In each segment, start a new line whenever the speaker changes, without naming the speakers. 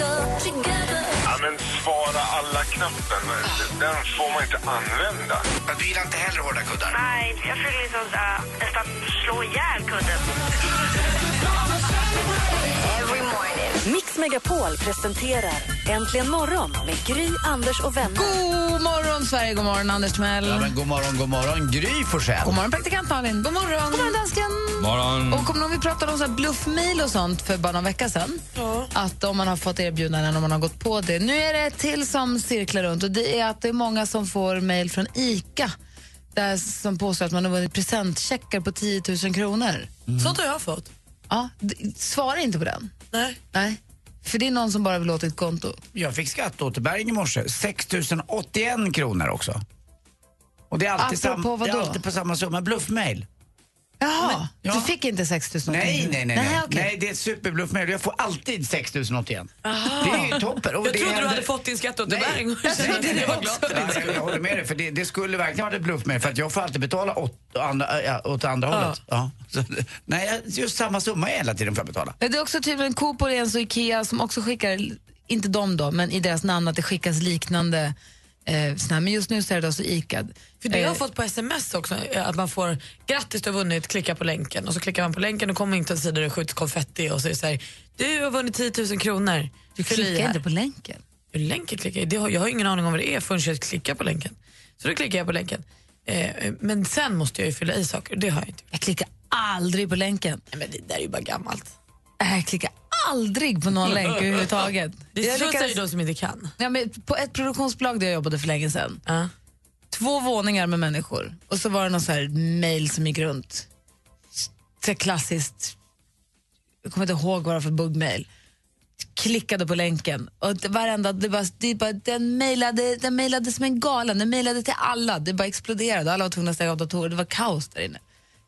Ja, men svara alla-knappen, den får man inte använda.
Jag vilar inte heller hårda kuddar.
Nej, jag försöker liksom äh, nästan slå ihjäl kudden.
Mix Megapol presenterar Äntligen morgon med Gry, Anders och vänner.
God morgon, Sverige. God morgon, Anders Timell.
Ja, men god morgon, god morgon, Gry Forssell.
God morgon, praktikant Malin. God morgon, god morgon dansken.
morgon.
Och kommer ni ihåg vi pratade om så här bluffmail och sånt för bara någon vecka sedan? Att om man har fått erbjudanden och man har gått på det. Nu är det ett till som cirklar runt och det är att det är många som får mail från ICA där som påstår att man har vunnit presentcheckar på 10 000 kronor.
Mm. Sånt har jag fått.
Ja, d- svara inte på den.
Nej.
Nej. För det är någon som bara vill åt ett konto.
Jag fick skatteåterbäring i morse. 6 081 kronor också. Och det är alltid,
Apropå
sam- det är
vadå?
alltid på samma summa. Bluffmail.
Jaha,
ja.
du fick inte 6 000
Nej, nej, nej. Nej,
Nej,
nej.
okej.
det är ett superbluffmail. Jag får alltid 6 081. Det är ju toppen. Och
Jag trodde
det
du
händer-
hade fått din skatteåterbäring.
Nej,
Jag kände att jag var glad.
Ja, jag, jag håller med dig, för det, det skulle verkligen varit ett bluffmail för att jag får alltid betala åt andra, ja, åt andra hållet. Ja. Så, nej, jag- just samma summa hela tiden får jag betala.
Men Det är också typ tydligen Coop, Åhléns och Ikea som också skickar, inte de då, men i deras namn att det skickas liknande eh, såna här. Men just nu så är det alltså Ica.
För det har
Eh,
jag fått på sms också, eh, att man får grattis du har vunnit, klicka på länken och så klickar man på länken och kommer inte en sida där det skjuts konfetti och så är det så här, du har vunnit 10 000 kronor.
Du
Fyll i
klickar
här.
inte på länken.
Hur länken klickar jag? Det har, jag har ingen aning om vad det är förrän jag klickar på länken. Så då klickar jag på länken. Eh, eh, men sen måste jag ju fylla i saker och det har jag inte gjort.
Jag klickar aldrig på länken.
Nej, men det där är ju bara gammalt.
Äh, Jag klickar aldrig på någon länk överhuvudtaget.
Det
Jag
slutar ju
lyckades,
de som inte kan.
ja, men på ett produktionsbolag där jag jobbade för länge sedan,
Ja.
två våningar med människor och så var det någon så här mail som gick runt. Så här klassiskt, jag kommer inte ihåg vad det var för buggmail. Klickade på länken och det- varenda, det var, det bara, den, mailade, den mailade som en galen, den mailade till alla. Det bara exploderade, alla var tvungna att stänga av datorer, det var kaos där inne.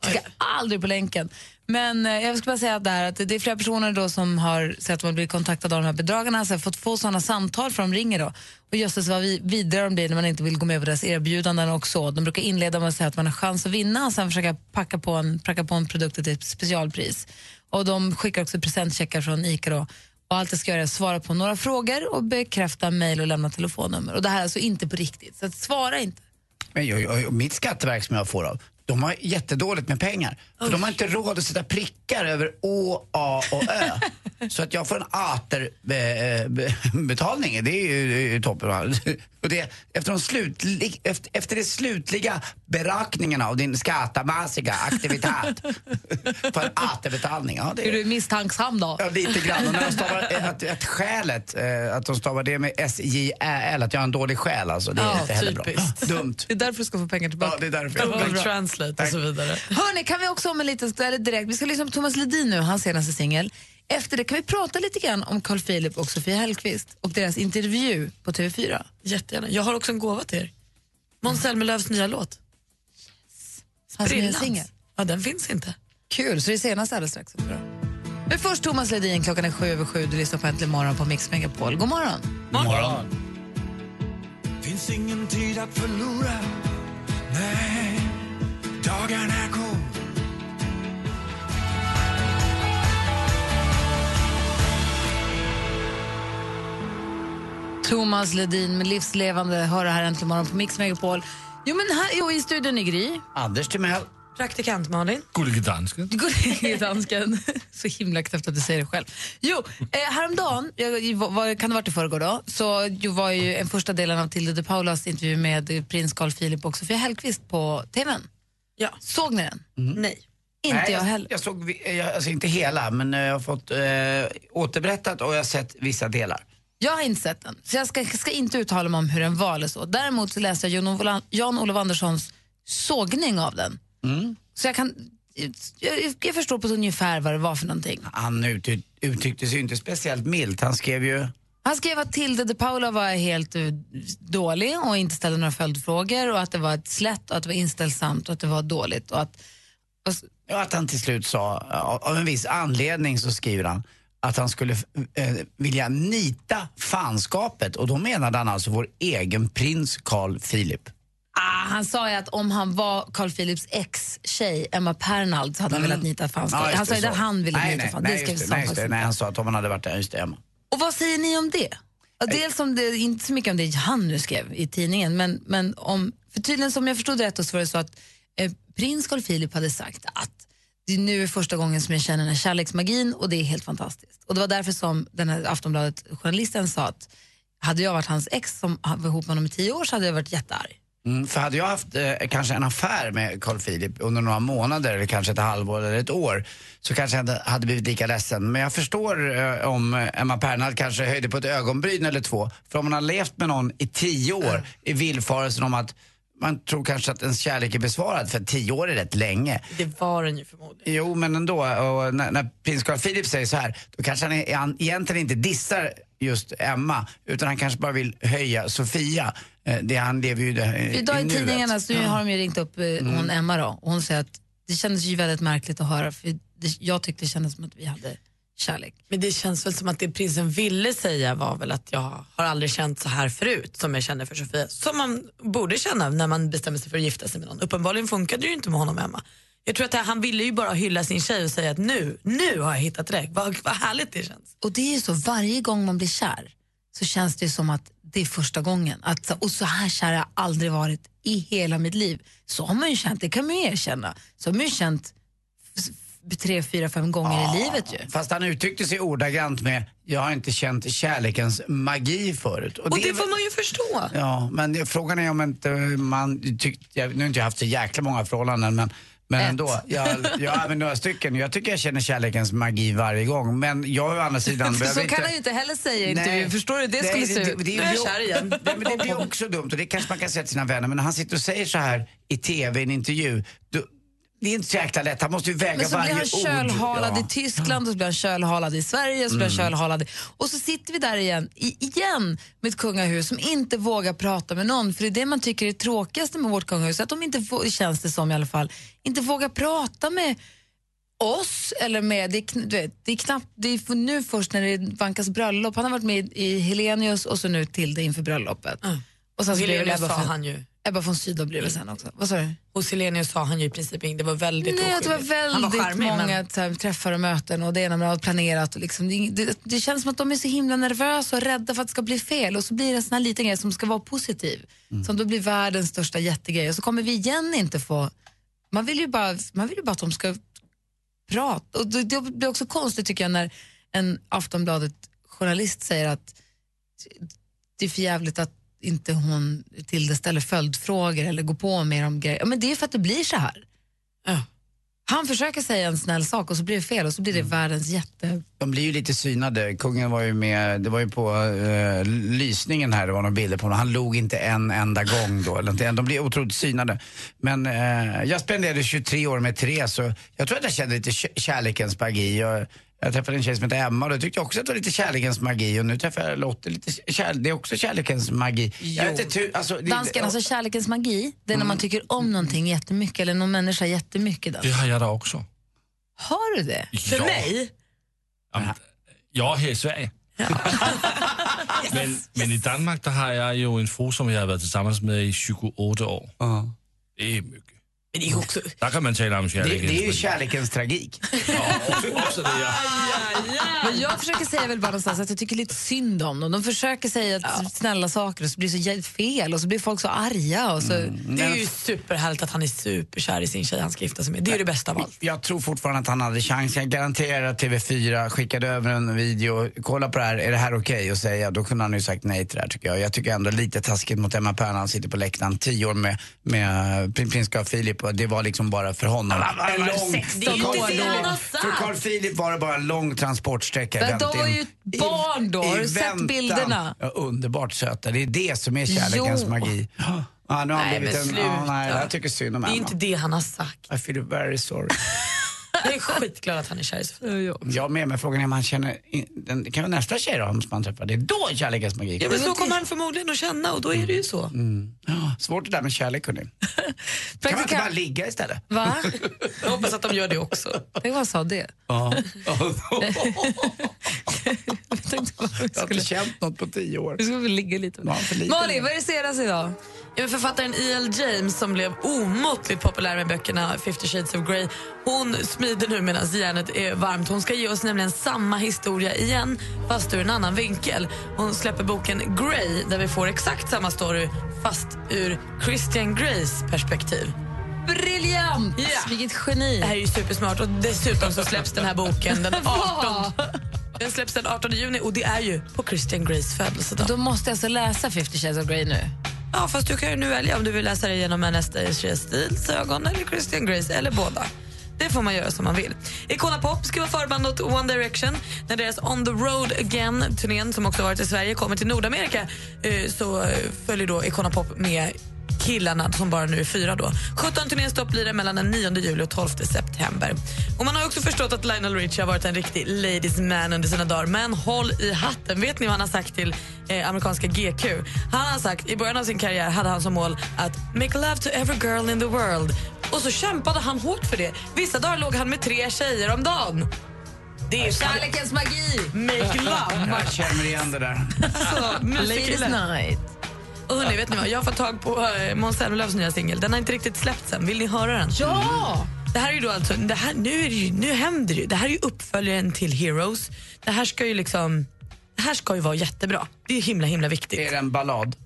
Jag klickade aldrig på länken. Men eh, jag skulle bara säga att det, här, att det är flera personer då som har sett att man blir kontaktade av de här bedragarna, alltså fått få sådana samtal för de ringer då. Och jösses vad vi- vidare de blir när man inte vill gå med på deras erbjudanden också. De brukar inleda med att säga att man har chans att vinna och sen försöka packa på en, packa på en produkt till ett specialpris. Och de skickar också presentcheckar från ICA då. Och allt det ska göra är att svara på några frågor och bekräfta mejl och lämna telefonnummer. Och det här är alltså inte på riktigt, så att svara inte.
Men jag, jag, mitt skatteverk som jag får av, de har jättedåligt med pengar. För de har inte råd att sätta prickar över Å, A och Ö. Så att jag får en aterbetalning, det är ju det är ju toppen. va? Och det, efter, de slutli, efter, efter de slutliga beräkningarna av din skattamassiga aktivitet för aterbetalning. Ja, det
Är du misstänksam då?
Ja, lite grann. Och när de stavar, eh, att, att skälet, eh, att de stavar det med S-J-Ä-L, att jag har en dålig själ alltså, det är
Ja,
inte heller
typiskt.
bra. Dumt.
Det är därför du ska få pengar tillbaka.
Ja, det är därför.
Google Translate och så vidare.
Hörni, kan vi också om en liten eller direkt, vi ska lyssna på Thomas Ledin nu, hans senaste singel. Efter det kan vi prata lite grann om Carl Philip och Sofia Hellqvist och deras intervju på TV4.
Jättegärna. Jag har också en gåva till er. Måns Zelmerlöws nya låt.
Hans nya
Sprillans.
singel.
Ja, den finns inte.
Kul, så det senaste alldeles strax. också då. Men först Thomas Ledin, klockan är sju över sju. Du lyssnar på Äntligen morgon på Mix Megapol. God morgon!
Finns ingen tid att förlora. Nej, dagarna går.
Thomas Ledin med Livslevande hör det här Äntligen morgon på Mix Megapol. Jo, men här jo, i studion i Gry.
Anders Timell.
Praktikant Malin.
Gullige dansken.
Gullige dansken. Så himla knäppt att du säger det själv. Jo, eh, häromdagen, jag, var, kan det ha varit i förrgår då, så ju var ju en första delen av Tilde de Paulas intervju med prins Carl Philip och Sofia Hellqvist på TVn.
Ja.
Såg ni den?
Nej.
Inte
Nej,
jag heller.
Jag såg, vi- eh, jag, alltså inte hela, men eh, jag har fått eh, återberättat och jag har sett vissa delar.
Jag har inte sett den, så jag ska, ska inte uttala mig om hur den var eller så. Däremot så läste jag Jan-Olof- Jan-Olof Anderssons sågning av den. Så jag kan... Jag, jag förstår på ungefär vad det var för någonting.
Han ut, uttryckte sig ju inte speciellt milt. Han skrev ju
Han skrev att Tilde de Paula var helt eh, dålig och inte ställde några följdfrågor och att det var ett slätt och att det var inställsamt och att det var dåligt. Och att, och, s-
Ja, att han till slut sa, av- av en viss anledning så skriver han att han skulle eh, vilja nita fanskapet och då menade han alltså vår egen prins Carl Philip.
ah, han sa ju att om han var Carl Philips ex-tjej, Emma Pernald, så hade han
Mm.
velat nita fanskap.
Ja, just
han sa ju
så.
att han ville
nej,
nita
nej,
fanskap.
nej,
Det ska vi
just det, nej, just
faktiskt
det,
inte.
nej, han sa att om han hade varit där, just det, Emma.
Och vad säger ni om det? Ja, Dels om det, inte så mycket om det han nu skrev i tidningen, men, men om, för tydligen som jag förstod det rätt så var det så att eh, prins Carl Philip hade sagt att det nu är första gången som jag känner den här kärleksmagin och det är helt fantastiskt. Och det var därför som den här Aftonbladet-journalisten sa att hade jag varit hans ex som var ihop med honom i tio år så hade jag varit jättearg.
Mm, för hade jag haft eh, kanske en affär med Carl Philip under några månader eller kanske ett halvår eller ett år så kanske jag inte hade blivit lika ledsen. Men jag förstår eh, om eh, Emma Pernald kanske höjde på ett ögonbryn eller två. För om man har levt med någon i tio år i villfarelsen om att man tror kanske att ens kärlek är besvarad för tio år är rätt länge.
Det var den ju förmodligen.
Jo, men ändå. Och när, när prins Carl Philip säger så här, då kanske han, är, han egentligen inte dissar just Emma, utan han kanske bara vill höja Sofia. Eh, Det han lever ju det, eh,
Idag i
nuet.
tidningarna så har de ju ringt upp eh, hon Emma då, och hon säger att det kändes ju väldigt märkligt att höra för det, jag tyckte det kändes som att vi hade kärlek.
Men det känns väl som att det prinsen ville säga var väl att jag har aldrig känt så här förut som jag känner för Sofia. Som man borde känna när man bestämmer sig för att gifta sig med någon. Uppenbarligen funkade det ju inte med honom Emma. Jag tror att det- han ville ju bara hylla sin tjej och säga att nu, nu har jag hittat rätt. Vad, vad härligt det känns.
Och det är ju så, varje gång man blir kär så känns det ju som att det är första gången. Att, så- och så här kär har jag aldrig varit i hela mitt liv. Så har man ju känt, det kan man ju erkänna. Så har man ju känt f- f- tre, fyra, fem gånger i livet ju.
Fast han uttryckte sig ordagrant med “jag har inte känt kärlekens magi förut”.
Och det,
är väl-
får man ju förstå.
Ja, men det- frågan är om inte man tyckte, jag, nu har inte jag haft så jäkla många förhållanden men men
Ett.
ändå, jag, jag har även några stycken. Jag tycker jag känner kärlekens magi varje gång. Men jag å andra sidan
För
behöver
så kan han ju inte heller säga i intervjun. Förstår du hur det
Nej,
skulle se
det,
ut?
det, det,
Nu är jag
det-
kär igen.
Nej, men det blir också dumt och det kanske man kan säga till sina vänner. Men när han sitter och säger så här i tv, i en intervju. Då, det är inte så jäkla lätt. Han måste ju väga
Men så
varje
blir han
ord.
kölhalad
Ja. Mm.
i Tyskland, och så blir han kölhalad i Sverige, och så blir han kölhalad i... Och så sitter vi där igen, i, igen med ett kungahus som inte vågar prata med någon. För det är det man tycker är det tråkigaste med vårt kungahus, att de inte, vå- känns det som i alla fall, inte vågar prata med oss eller med, det är, kn- du vet, det är knappt, det är för- nu först när det vankas bröllop. Han har varit med i Helenius och så nu till det inför bröllopet.
Mm.
Och sen så blev det
Helenius
Ebba,
sa
von-
han ju.
Ebba von Sydow blev det sen också. Vad sa du?
Hos Helenius sa han ju i princip inget. Det var väldigt
Nej, att det var
oskyldigt. Han
väldigt
charmig, men-
många så här, träffar och möten och det ena med det andra planerat. Och liksom, det, det, det känns som att de är så himla nervösa och rädda för att det ska bli fel och så blir det en sån här liten grej som ska vara positiv. Som då blir världens största jättegrej och så kommer vi igen inte få... Man vill ju bara, man vill ju bara att de ska prata. Och det, det blir också konstigt tycker jag när en Aftonbladet-journalist säger att det är för jävligt att inte hon till det ställer följdfrågor eller går på mer om grejer. Ja, men det är för att det blir så här.
Ja.
Han försöker säga en snäll sak och så blir det fel och så blir det världens jätte...
De blir ju lite synade. Kungen var ju med, det var ju på eh, lysningen här, det var några bilder på honom. Han log inte en enda gång då. Eller inte en. De blir otroligt synade. Men eh, jag spenderade 23 år med Therese och jag tror att jag kände lite kä- kärlekens magi. Jag, jag träffade en tjej som hette Emma och då tyckte jag också att det var lite kärlekens magi. Och nu träffar jag Lotte, lite kär, det är också kärlekens magi. Jag vet inte, hur- alltså, det-
Dansken, alltså kärlekens magi, det är när man tycker om någonting jättemycket eller någon människa jättemycket. Dans.
Det har jag där också.
Har du det?
För ja. mig? Jag är här i Sverige. men, men i Danmark där har jag ju en fru som jag har varit tillsammans med i 28 år.
Ja.
Det är mycket.
Men det är ju också...
Där kan man tala om
det,
kärlek.
det är ju kärlekens tragik.
också det, ja.
Men jag försöker säga väl bara någonstans att jag tycker lite synd om dem. De försöker säga att snälla saker och så blir det så jä- fel och så blir folk så arga. Och så...
Det är ju superhärligt att han är superkär i sin tjej han ska gifta sig med. Det är ju det bästa av allt.
Jag tror fortfarande att han hade chans. Jag garanterar att TV4 skickade över en video. Kolla på det här, är det här okej? Och säga, då kunde han ju sagt nej till det här tycker jag. Jag tycker ändå lite taskigt mot Emma Pärn. Han sitter på läktaren tio år med, med prin- prins Carl Philip och det var liksom bara för honom. En lång, för,
år
Carl
då.
Philip, för Carl Philip var det bara en lång transportsträcka. i
Men de
väntan.
var ju
I-
barn då.
i
Har du sett
väntan.
bilderna?
Ja, underbart söta. Det är det som är kärlekens
Jo.
magi. Ja, nu har han
Nej,
blivit
men
en,
sluta.
ja, nej, jag tycker synd om
Det är
Emma.
inte det han har sagt.
I feel very sorry.
Jag är skitglad att han är kär i Sofia.
Jag med, men frågan är om han känner... in- Den, det kan vara nästa tjej då, som han träffar. Det är då kärlekens magi
Ja, men så kommer han förmodligen att känna och då är det ju så.
Mm. Ja, Svårt det där med kärlek, hörni. kan man inte bara ligga istället?
Va?
Jag hoppas att de gör det också.
Tänk vad jag sa det.
Ja.
Jag tänkte bara att vi
Jag har
skulle-
inte känt något på tio år.
Vi ska väl ligga lite.
Ja, för lite.
Malin, vad är det senaste idag?
Ja, men författaren E.L. James som blev omåttligt populär med böckerna 50 shades of Grey. Hon smider nu medan järnet är varmt. Hon ska ge oss nämligen samma historia igen fast ur en annan vinkel. Hon släpper boken Grey där vi får exakt samma story fast ur Christian Greys perspektiv.
Briljant!
Ja.
Vilket geni.
Det här är ju supersmart och dessutom så släpps den här boken den 18 den släpps den 18 juni och det är ju på Christian Greys födelsedag.
Då måste jag alltså läsa 50 shades of Grey nu.
Ja, fast du kan ju nu välja om du vill läsa det genom Ernest Steels ögon eller Christian Grace eller båda. Det får man göra som man vill. Icona Pop ska vara förband åt One Direction. När deras On the Road Again-turnén, som också varit i Sverige, kommer till Nordamerika eh, så eh, följer då Icona Pop med killarna som bara nu är fyra då. 17 turnéstopp blir det mellan den 9 juli och 12 september. Och man har ju också förstått att Lionel Richie har varit en riktig ladies man under sina dagar. Men håll i hatten. Vet ni vad han har sagt till eh, amerikanska GQ? Han har sagt i början av sin karriär hade han som mål att make love to every girl in the world. Och så kämpade han hårt för det. Vissa dagar låg han med tre tjejer om dagen. Det är
Kärlekens magi!
Make love.
Jag känner igen det där.
Alltså,
Ladies
musikkille.
night.
Och hörni, vet ni vad? Jag har fått tag på eh, Måns Zelmerlöws nya singel. Den har inte riktigt släppts än. Vill ni höra den?
Ja!
Det här är ju då alltså, det här, nu, är det ju, nu händer det ju. Det här är ju uppföljaren till Heroes. Det här ska ju liksom, det här ska ju vara jättebra. Det är himla, himla viktigt.
Är det en ballad?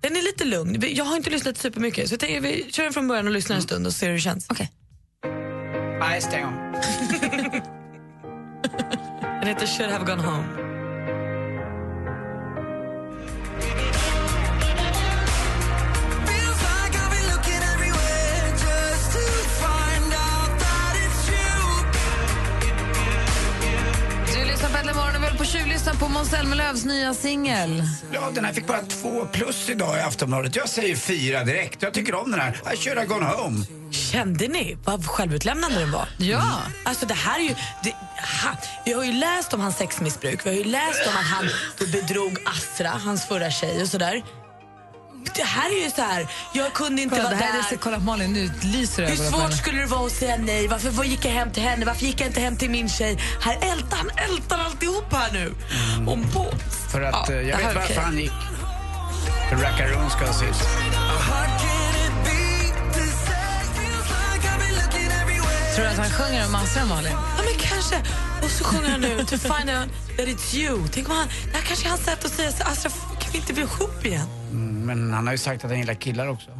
Den är lite lugn. Vi- Jag har inte lyssnat supermycket så jag tänker vi kör den från början och lyssnar en stund och ser hur det känns.
Okej.
Nej, stäng av.
Den heter Should have gone home.
Du lyssnar på Äntligen morgon och vi håller på att tjuvlyssna på Måns Zelmerlöws nya singel.
Ja, den här fick bara två plus idag i Aftonbladet. Jag säger fyra direkt. Jag tycker om den här. I should have gone home.
Kände ni vad självutlämnande den var?
Ja.
Alltså det här är ju... Det, ha, vi har ju läst om hans sexmissbruk. Vi har ju läst om att han då bedrog Astra, hans förra tjej och sådär. Det här är ju så här... Jag kunde inte
Kolla,
vara
det här är
där.
så, kolla Malin, nu lyser
Hur
ögonen på
svårt
henne.
skulle det vara att säga nej? Varför var gick jag hem till henne? Varför gick jag inte hem till min tjej? Här ältar han ältar alltihop här nu. Och på.
Mm. För att
Ja,
eh, jag
det här är
vet varför
okej.
han gick. För Rackaroon ska ha syss.
Tror du att han sjunger om massor Malin?
Ja, men kanske. Och så sjunger han nu To find out that it's you. Tänk om han, det här kanske är hans sätt att säga så Astra, kan vi inte bli ihop igen?
Mm, Men han har ju sagt att han gillar killar också.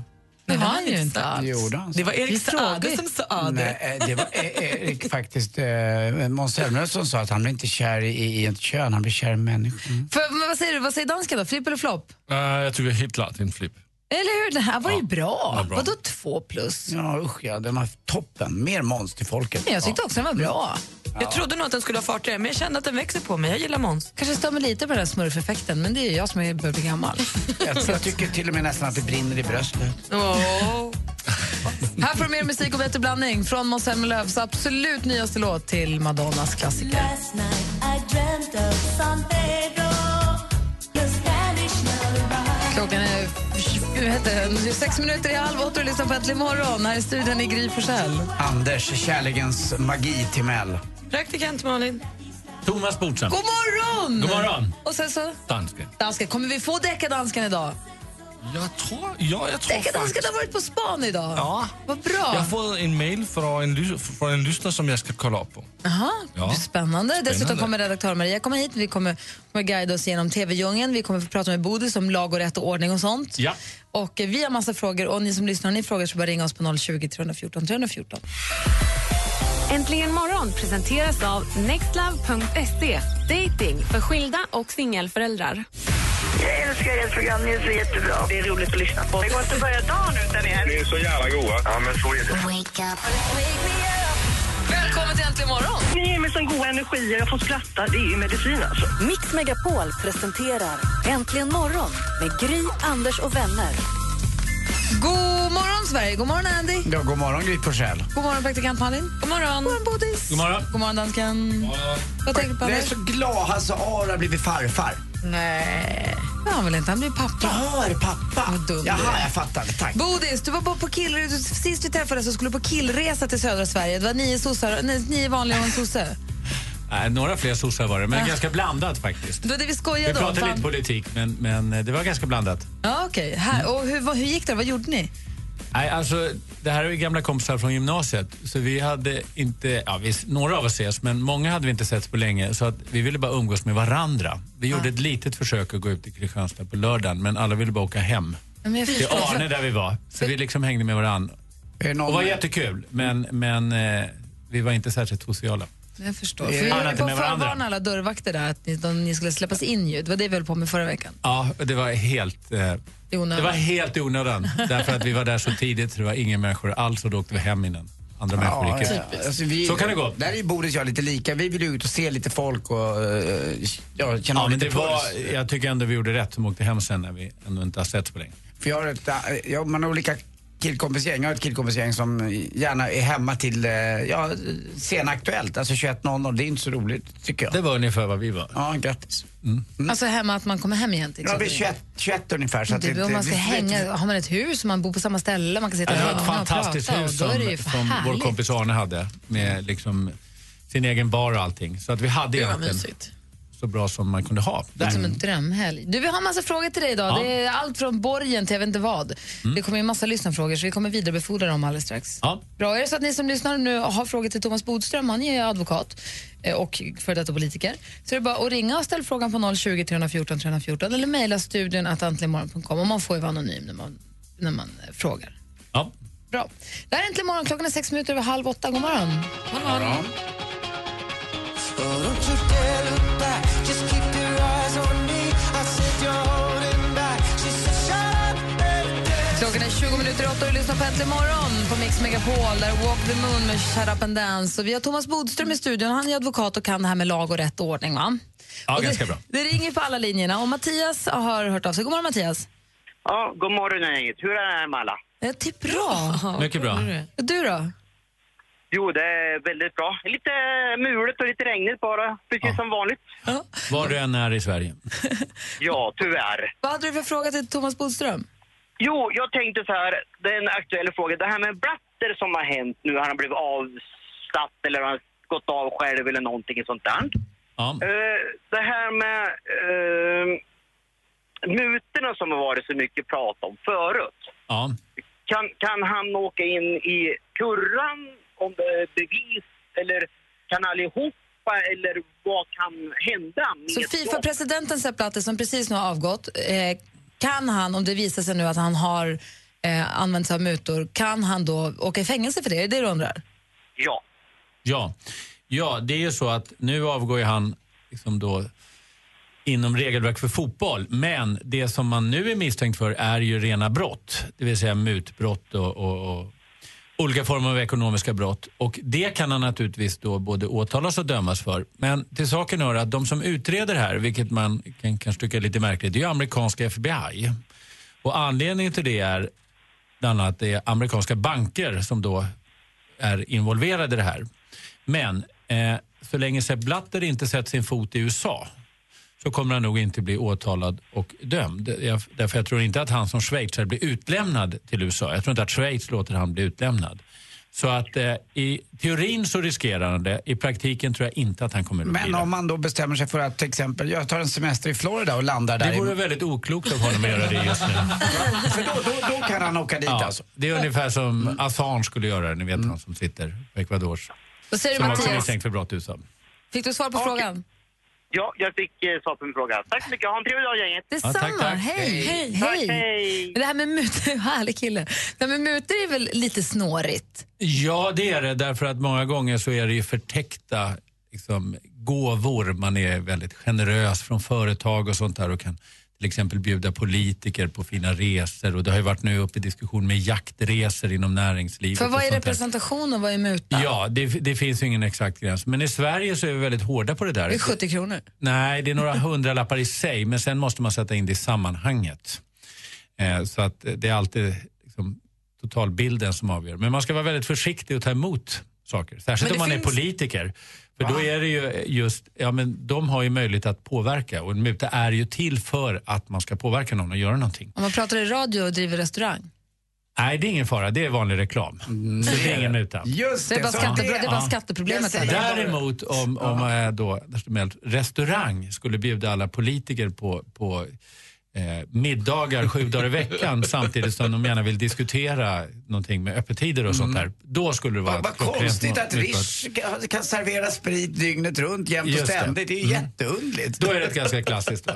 Det har han ju inte alls.
Jo, det har han
Det var
Det är
Erik Saade
tråkigt.
som sa det.
Nej, eh, det var eh, Erik faktiskt. eh, Måns Zelmerlöw som sa att han blir inte kär i, i ett kön, han blir kär i människor.
För, men vad säger du? Vad säger dansken då? Flipp eller flopp?
Uh, jag tycker helt klart det är en flipp.
Eller hur? Det här var ju bra.
var bra.
Vadå två plus?
Ja, usch ja, den var toppen. Mer Måns till folket.
Jag tyckte också den var bra.
Jag trodde nog att den skulle ha fart i det, men jag kände att den växer på mig. Jag gillar Måns.
Kanske stör mig lite på den här smurfeffekten, men det är ju jag som är- börjar bli gammal.
Ja, jag, jag tycker till och med nästan att det brinner i bröstet.
här får du mer musik och bättre blandning från Måns Zelmerlöws absolut nyaste låt till Madonnas klassiker. Klockan är hur heter det? sex minuter i halv åtta och lyssnar på Äntligen morgon. Här i studion i Gry Forssell.
Anders, kärlekens magi till Mell.
Praktikant Malin.
Thomas Bodström.
God morgon!
God morgon.
Och sen så,
Dansken.
dansken, kommer vi få deckardansken idag?
Jag tror, ja, jag tror
Deckardansken
faktiskt...
har varit på span idag.
Ja.
Vad bra.
Jag har fått en mail från en, lys- från en lyssnare som jag ska kolla upp på.
Aha,
Ja.
Spännande. Dessutom
Spännande.
kommer redaktör Maria komma hit. Vi kommer, kommer guida oss genom TV-djungeln. Vi kommer få prata med Bodil om lag och rätt och ordning och sånt.
Ja.
Och eh, vi har massa frågor och ni som lyssnar, om ni har frågor så bara ringa oss på 020 314 314.
Äntligen morgon presenteras av nextlove.se. Dating för skilda och singelföräldrar.
Jag älskar ert program, ni är så jättebra. Det är roligt att lyssna på. Det går inte att börja dagen utan er.
Ni är så jävla goa. Ja, men så är det.
Välkommen till Äntligen morgon!
Ni ger mig sån god energi och jag får skratta. Det är ju medicin alltså.
Mix Megapol presenterar Äntligen morgon med Gry, Anders och vänner.
God morgon, Sverige. God morgon, Andy.
Ja, god morgon Gry Forssell.
God morgon, praktikant Malin. God morgon. God morgon, Bodis.
God morgon.
God morgon, dansken. Vad tänker du på,
Jag är
Anders?
så glad, Hasse Aro har blivit farfar.
Nej. Det har han väl inte? Han blir pappa.
Ja, är pappa.
Vad dum du
Jaha,
är.
jag fattar. Tack.
Bodis, du var bara på kill... sist vi träffades så skulle du på killresa till södra Sverige. Det var nio, sossar, nej, nio vanliga och en sosse.
Nej, några fler sossar var det, men
Ah.
Ja.
ganska blandat faktiskt.
Det var det vi
Vi
skojade om.
pratade
fan.
lite politik, men, men eh, det var ganska blandat.
Ja, okej. Här. Och hur, vad- hur gick det? Vad gjorde ni?
Nej, alltså, det här är ju gamla kompisar från gymnasiet. Så vi hade inte, ja, vi, några av oss ses, men många hade vi inte sett på länge. Så att vi ville bara umgås med varandra. Vi gjorde
Ah.
ett litet försök att gå ut till Kristianstad på lördagen, men alla ville bara åka hem.
Men jag
Till
förstår.
Arne där vi var. Så vi liksom hängde med varandra. Och var jättekul, men, men eh, vi var inte särskilt sociala.
Jag förstår.
Det är
För vi
annat
höll på att
än med varandra.
förvarna alla dörrvakter där att ni, de, ni skulle släppas in ju. Det var det vi höll på med förra veckan.
Ja, och det var helt... Eh,
I onödan.
Det var helt i onödan. Därför att vi var där så tidigt så det var ingen människor alls och då åkte vi hem innan andra människor gick ut.
Alltså, vi,
så kan det gå.
Där är ju Boris och jag lite lika. Vi vill ju ut och se lite folk och eh, ja, känna
Ja,
av
men
lite
det
puls.
var, jag tycker ändå vi gjorde rätt som åkte hem sen när vi ändå inte har sett på länge.
För jag har ett, äh, jag, man har olika killkompisgäng. Jag har ett killkompisgäng som gärna är hemma till eh, ja, sen Aktuellt, alltså 21.00. Det är inte så roligt tycker jag. Det
var ungefär vad vi var.
Ja, grattis.
Mm.
Alltså hemma, att man kommer hem igen till
Ja, vi är 21, 21 ungefär. Så att
Det,
det,
om man ska
det-
hänga, har man ett hus och man bor på samma ställe, man kan sitta
Det var
hemma
ett
och
fantastiskt
prata,
hus
och
som,
då är det ju
som vår
härligt.
kompis Arne hade med liksom sin egen bar och allting. Så att vi hade
Gud, vad
egentligen
mysigt.
så bra som man kunde ha.
Det är
Där.
som en drömhelg. Du, vi har en massa frågor till dig idag.
Mm. Ja. Mm.
Det är allt från borgen till jag vet inte vad. Det kommer ju en massa lyssnarfrågor så vi kommer vidarebefordra dem alldeles strax.
Ja.
Bra, är det så att ni som lyssnar nu har frågor till Thomas Bodström, han är ju advokat eh, och före detta politiker, så är det bara att ringa och ställa frågan på 020 314 314 eller mejla studion att antligenmorgon.com och man får ju vara anonym när man, när man eh, frågar.
Ja.
Bra. Det här är Äntligen morgon, klockan är sex minuter över halv åtta. God morgon. God morgon. Klockan är 20 minuter i åtta och du lyssnar på Äntligen morgon på Mix Megapol. Där är Walk the Moon med Shut Up and Dance. Och vi har Thomas Bodström i studion. Han är advokat och kan det här med lag och rätt och ordning. Va?
Ja,
och
ganska
det,
bra.
Det ringer på alla linjerna. Och Mattias har hört av sig. God morgon, Mattias.
Ja, god morgon gänget. Hur är det med alla?
Eh, typ bra.
Mycket bra.
Och Du då?
Jo, det är väldigt bra. Lite mulet och lite regnigt bara, precis som vanligt.
Var du än är i Sverige.
Ja, tyvärr.
Vad hade du för fråga till Thomas Bodström?
Jo, jag tänkte så här, det är en aktuell fråga. Det här med Blatter som har hänt nu, han har blivit avsatt eller han har gått av själv eller någonting sånt där. Eh, det här med uh, mutorna som har varit så mycket prat om förut.
Ja.
Kan, kan han åka in i kurran om det är bevis eller kan allihopa eller vad kan hända? Med
Så Fifa-presidenten Sepp Blatter, som precis nu har avgått, eh, kan han, om det visar sig nu att han har eh, använt sig av mutor, kan han då åka i fängelse för det? Är det det du undrar?
Ja.
Ja. ja, det är ju så att nu avgår ju han liksom då inom regelverk för fotboll. Men det som man nu är misstänkt för är ju rena brott. Det vill säga mutbrott och, och, och olika former av ekonomiska brott. Och det kan han naturligtvis då både åtalas och dömas för. Men till saken hör att de som utreder här, vilket man kan kanske tycka är lite märkligt, det är ju amerikanska FBI. Och anledningen till det är bland annat det är amerikanska banker som då är involverade i det här. Men eh, så länge Sepp Blatter inte sätter sin fot i USA så kommer han nog inte bli åtalad och dömd. Jag, därför jag tror inte att han som schweizare blir utlämnad till USA. Jag tror inte att Schweiz låter han bli utlämnad. Så att eh, i teorin så riskerar han det. I praktiken tror jag inte att han kommer att bli
Men
det.
om man då bestämmer sig för att till exempel, jag tar en semester i Florida och landar där.
Det
i-
vore väldigt oklokt av honom att göra det just nu.
För då, då, då kan han åka dit
Ja,
alltså.
det är ungefär
Mm.
som Assange skulle göra, ni vet han som sitter på Ecuadors.
Vad säger du,
som också
Mm. Mattias?
misstänkt för brott i USA.
Fick du svar på frågan?
Ja, jag fick eh, svar på min fråga. Tack så mycket. Ha en trevlig dag gänget.
Detsamma. Hej. Hej.
Tack, hej.
Men Det här med mutor, härlig kille. Det här med mutor är väl lite snårigt?
Ja, det är det. Därför att många gånger så är det ju förtäckta liksom, gåvor. Man är väldigt generös från företag och sånt där och kan till exempel bjuda politiker på fina resor. Och det har ju varit nu uppe i diskussion med jaktresor inom näringslivet.
För
och
vad är
sånt där.
representation och vad är muta?
Ja, det, det finns ju ingen exakt gräns. Men i Sverige så är vi väldigt hårda på det där.
Det är 70 kronor.
Nej, det är några hundralappar i sig, men sen måste man sätta in det i sammanhanget. Eh, så att eh, det är alltid liksom, totalbilden som avgör. Men man ska vara väldigt försiktig att ta emot saker. Särskilt
Men
om
det
man är
finns-
politiker. För då är det ju eh, just, ja men de har ju möjlighet att påverka och en muta är ju till för att man ska påverka någon och göra någonting.
Om man pratar i radio och driver restaurang.
Nej, det är ingen fara. Det är vanlig reklam.
Mm.
Så det är ingen muta.
Just det, Det är bara så. skattepro- det är bara skatteproblemet
Ja.
här.
Däremot om, om eh, då, Meldt, restaurang skulle bjuda alla politiker på, på eh, middagar sju dagar i veckan samtidigt som de gärna vill diskutera någonting med öppettider och sånt där. Då skulle det vara...
Mm. Vad
ett klockrent
konstigt att
muta.
Rish kan- kan servera sprit dygnet runt jämt och
Just det.
ständigt. Det är ju
Mm.
jätteunderligt.
Då är det ett ganska klassiskt va?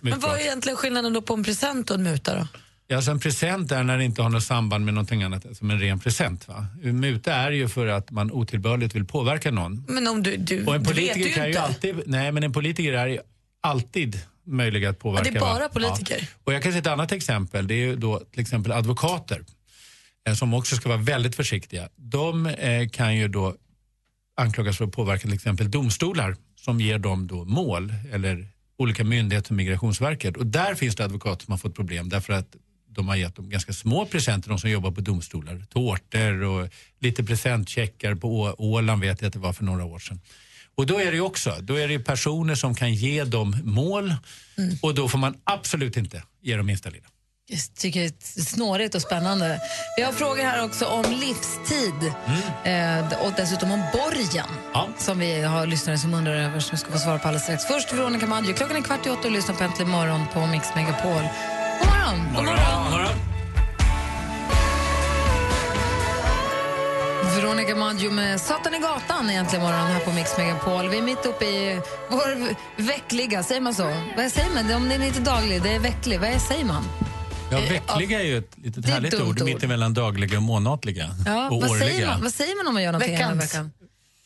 Men vad är egentligen skillnaden då på en present och en muta då?
Ja, alltså en present är när det inte har något samband med någonting annat än som en ren present. Va? Muta är ju för att man otillbörligt vill påverka någon.
Men om du, du,
Och en
du vet
politiker
ju
kan ju
inte.
alltid, nej men en politiker är ju alltid möjlig att påverka.
Ja, det är bara
va?
politiker.
Ja. Och jag kan se ett annat exempel, det är ju då till exempel advokater eh, som också ska vara väldigt försiktiga. De eh, kan ju då anklagas för att påverka till exempel domstolar som ger dem då mål eller olika myndigheter som Migrationsverket. Och där finns det advokater som har fått problem därför att de har gett dem ganska små presenter, de som jobbar på domstolar. Tårtor och lite presentcheckar på Å- Åland vet jag att det var för några år sedan. Och då är det ju också, då är det ju personer som kan ge dem mål och då får man absolut inte ge dem minsta lilla.
Just, tycker jag är snårigt och spännande. Vi har frågor här också om livstid eh, och dessutom om borgen som vi har lyssnare som undrar över som ska få svar på alldeles strax. Först Veronica Maggio, klockan är kvart i åtta och lyssnar på Äntligen morgon på Mix Megapol. God morgon! God Veronica Maggio med Satan i gatan egentligen morgon här på Mix Megapol. Vi är mitt uppe i vår veckliga, säger man så? Vad säger man? Om den är inte daglig, det är vecklig. Vad säger man?
Ja,
Eh,
veckliga är ju ett litet
Det är ett
härligt
dumt
ord,
ord.
mittemellan dagliga och månatliga.
Ja,
och
vad,
årliga.
säger man, vad säger man om man gör någonting hela
Veckans.
veckan?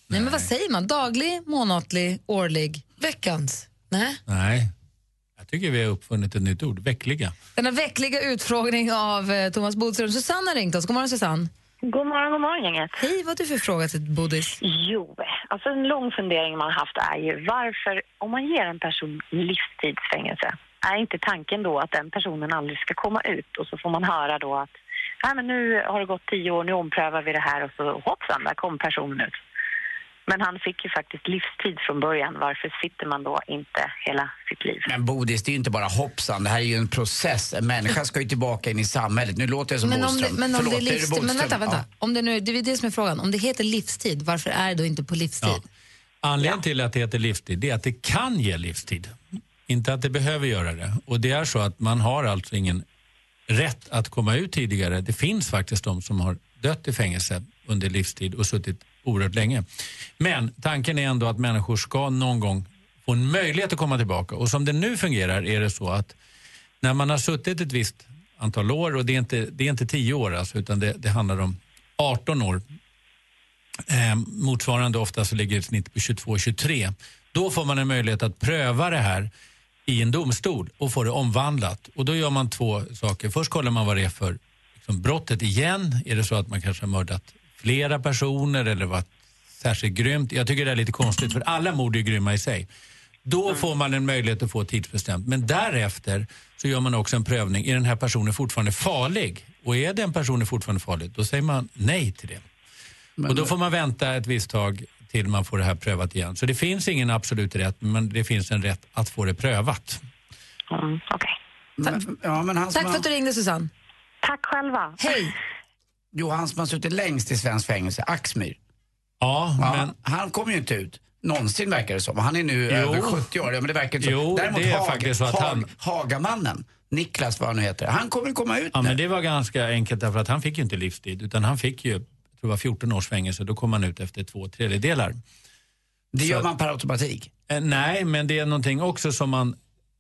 Nej. men vad säger man? Daglig, månatlig, årlig? Veckans. Nej.
Nej, jag tycker vi har uppfunnit ett nytt ord, veckliga.
Denna veckliga utfrågning av eh, Thomas Bodström. Susanne har ringt oss. God morgon Susanne.
God morgon, god morgon gänget.
Hej, vad har du för fråga till Bodis?
Jo, alltså en lång fundering man haft är ju varför, om man ger en person livstidsfängelse, är inte tanken då att den personen aldrig ska komma ut och så får man höra då att Nej, men nu har det gått tio år, nu omprövar vi det här och så hoppsan, där kom personen ut. Men han fick ju faktiskt livstid från början. Varför sitter man då inte hela sitt liv?
Men Bodis, det är ju inte bara hoppsan. Det här är ju en process. En människa ska ju tillbaka in i samhället. Nu låter jag som
Men om det,
Bodström.
men om
Förlåt,
det är
det
livstid,
Bodström?
men vänta, vänta.
Ja.
Om det, nu, det är det som är frågan. Om det heter livstid, varför är det då inte på livstid?
Anledningen till att det heter livstid det är att det kan ge livstid. Inte att det behöver göra det. Och det är så att man har alltså ingen rätt att komma ut tidigare. Det finns faktiskt de som har dött i fängelse under livstid och suttit oerhört länge. Men tanken är ändå att människor ska någon gång få en möjlighet att komma tillbaka. Och som det nu fungerar är det så att när man har suttit ett visst antal år, och det är inte, det är inte 10 år alltså, utan det, det handlar om 18 år Eh, motsvarande ofta så ligger ett snitt på 22-23. Då får man en möjlighet att pröva det här i en domstol och få det omvandlat. Och då gör man två saker. Först kollar man vad det är för liksom, brottet igen. Är det så att man kanske har mördat flera personer eller varit särskilt grymt? Jag tycker det är lite konstigt för alla mord är ju grymma i sig. Då får man en möjlighet att få tidsbestämt. Men därefter så gör man också en prövning. Är den här personen fortfarande farlig? Och är den personen fortfarande farlig, då säger man nej till det och då får man vänta ett visst tag till man får det här prövat igen. Så det finns ingen absolut rätt, men det finns en rätt att få det prövat.
Mm,
Men, ja, men han som
Tack för
har-
att du ringde Susanne.
Tack själva.
Hej.
Jo, han som har suttit längst i svensk fängelse, Axmyr.
Ja,
men... Han kommer ju inte ut. Någonsin verkar det som. Han är nu
Jo.
över 70 år. Ja, men det verkar inte så.
Jo,
Däremot
det är
Hag-
faktiskt så att
Hag-
han-
Hagamannen, Niklas vad han nu heter, han kommer komma ut
Ja,
nu.
men det var ganska enkelt därför att han fick ju inte livstid utan han fick ju, jag tror det var 14 års fängelse, då kom han ut efter två tredjedelar.
Det gör man per automatik?
Eh, Nej, men det är någonting också som man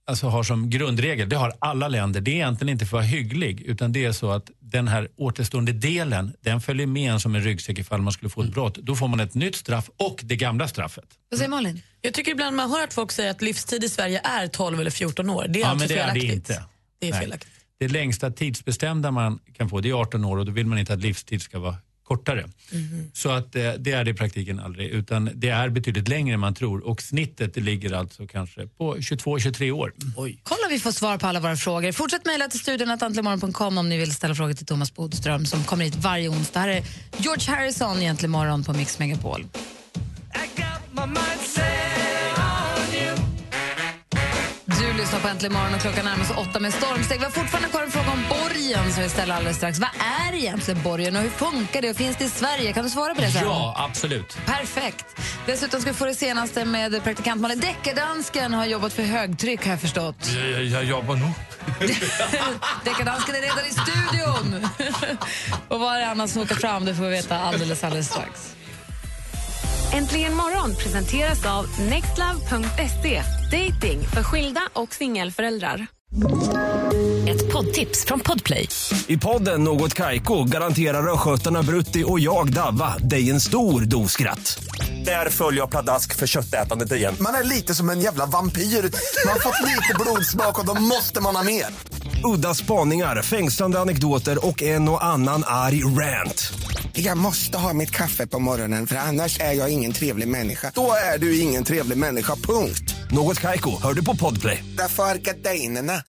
alltså, har som grundregel. Det har alla länder. Det är egentligen inte för att vara hygglig utan det är så att den här återstående delen, den följer med en som en ryggsäck ifall man skulle få
Mm.
ett brott. Då får man ett nytt straff och det gamla straffet.
Vad säger Malin?
Jag tycker ibland man hör att folk säger att livstid i Sverige är 12 eller 14 år. Det är
ja,
alltså
men det är det
felaktigt.
inte.
Det är
Nej.
felaktigt.
Det längsta tidsbestämda man kan få det är 18 år och då vill man inte att livstid ska vara kortare.
Mhm.
Så att eh, det är det i praktiken aldrig, utan det är betydligt längre än man tror. Och snittet ligger alltså kanske på 22-23 år. Oj.
Kolla vi får svar på alla våra frågor. Fortsätt mejla till studionatantlemorgon.com om ni vill ställa frågor till Thomas Bodström som kommer hit varje onsdag. Här är George Harrison i Äntligen morgon på Mix Megapol. Du lyssnar på Äntligen morgon och klockan närmar sig åtta med stormsteg. Vi har fortfarande kvar en fråga om borgen som vi ställer alldeles strax. Vad är egentligen borgen och hur funkar det och finns det i Sverige? Kan du svara på det? Sara?
Ja, absolut.
Perfekt. Dessutom ska vi få det senaste med praktikant Malin. Deckardansken har jobbat för högtryck har jag förstått.
Jag, jag jobbar nu.
Deckardansken är redan i studion! och vad är det annars som åker fram? Det får vi veta alldeles, alldeles strax.
Äntligen morgon presenteras av nextlove.se. Dating för skilda och singelföräldrar.
Ett poddtips från Podplay.
I podden Något Kaiko garanterar östgötarna Brutti och jag, Davva, dig en stor dos skratt. Där följer jag pladask för köttätandet igen.
Man är lite som en jävla vampyr. Man har fått lite blodsmak och då måste man ha mer.
Udda spaningar, fängslande anekdoter och en och annan arg rant.
Jag måste ha mitt kaffe på morgonen för annars är jag ingen trevlig människa.
Då är du ingen trevlig människa, punkt.
Något Kaiko, hör du på Podplay.
Därför arkadeinerna.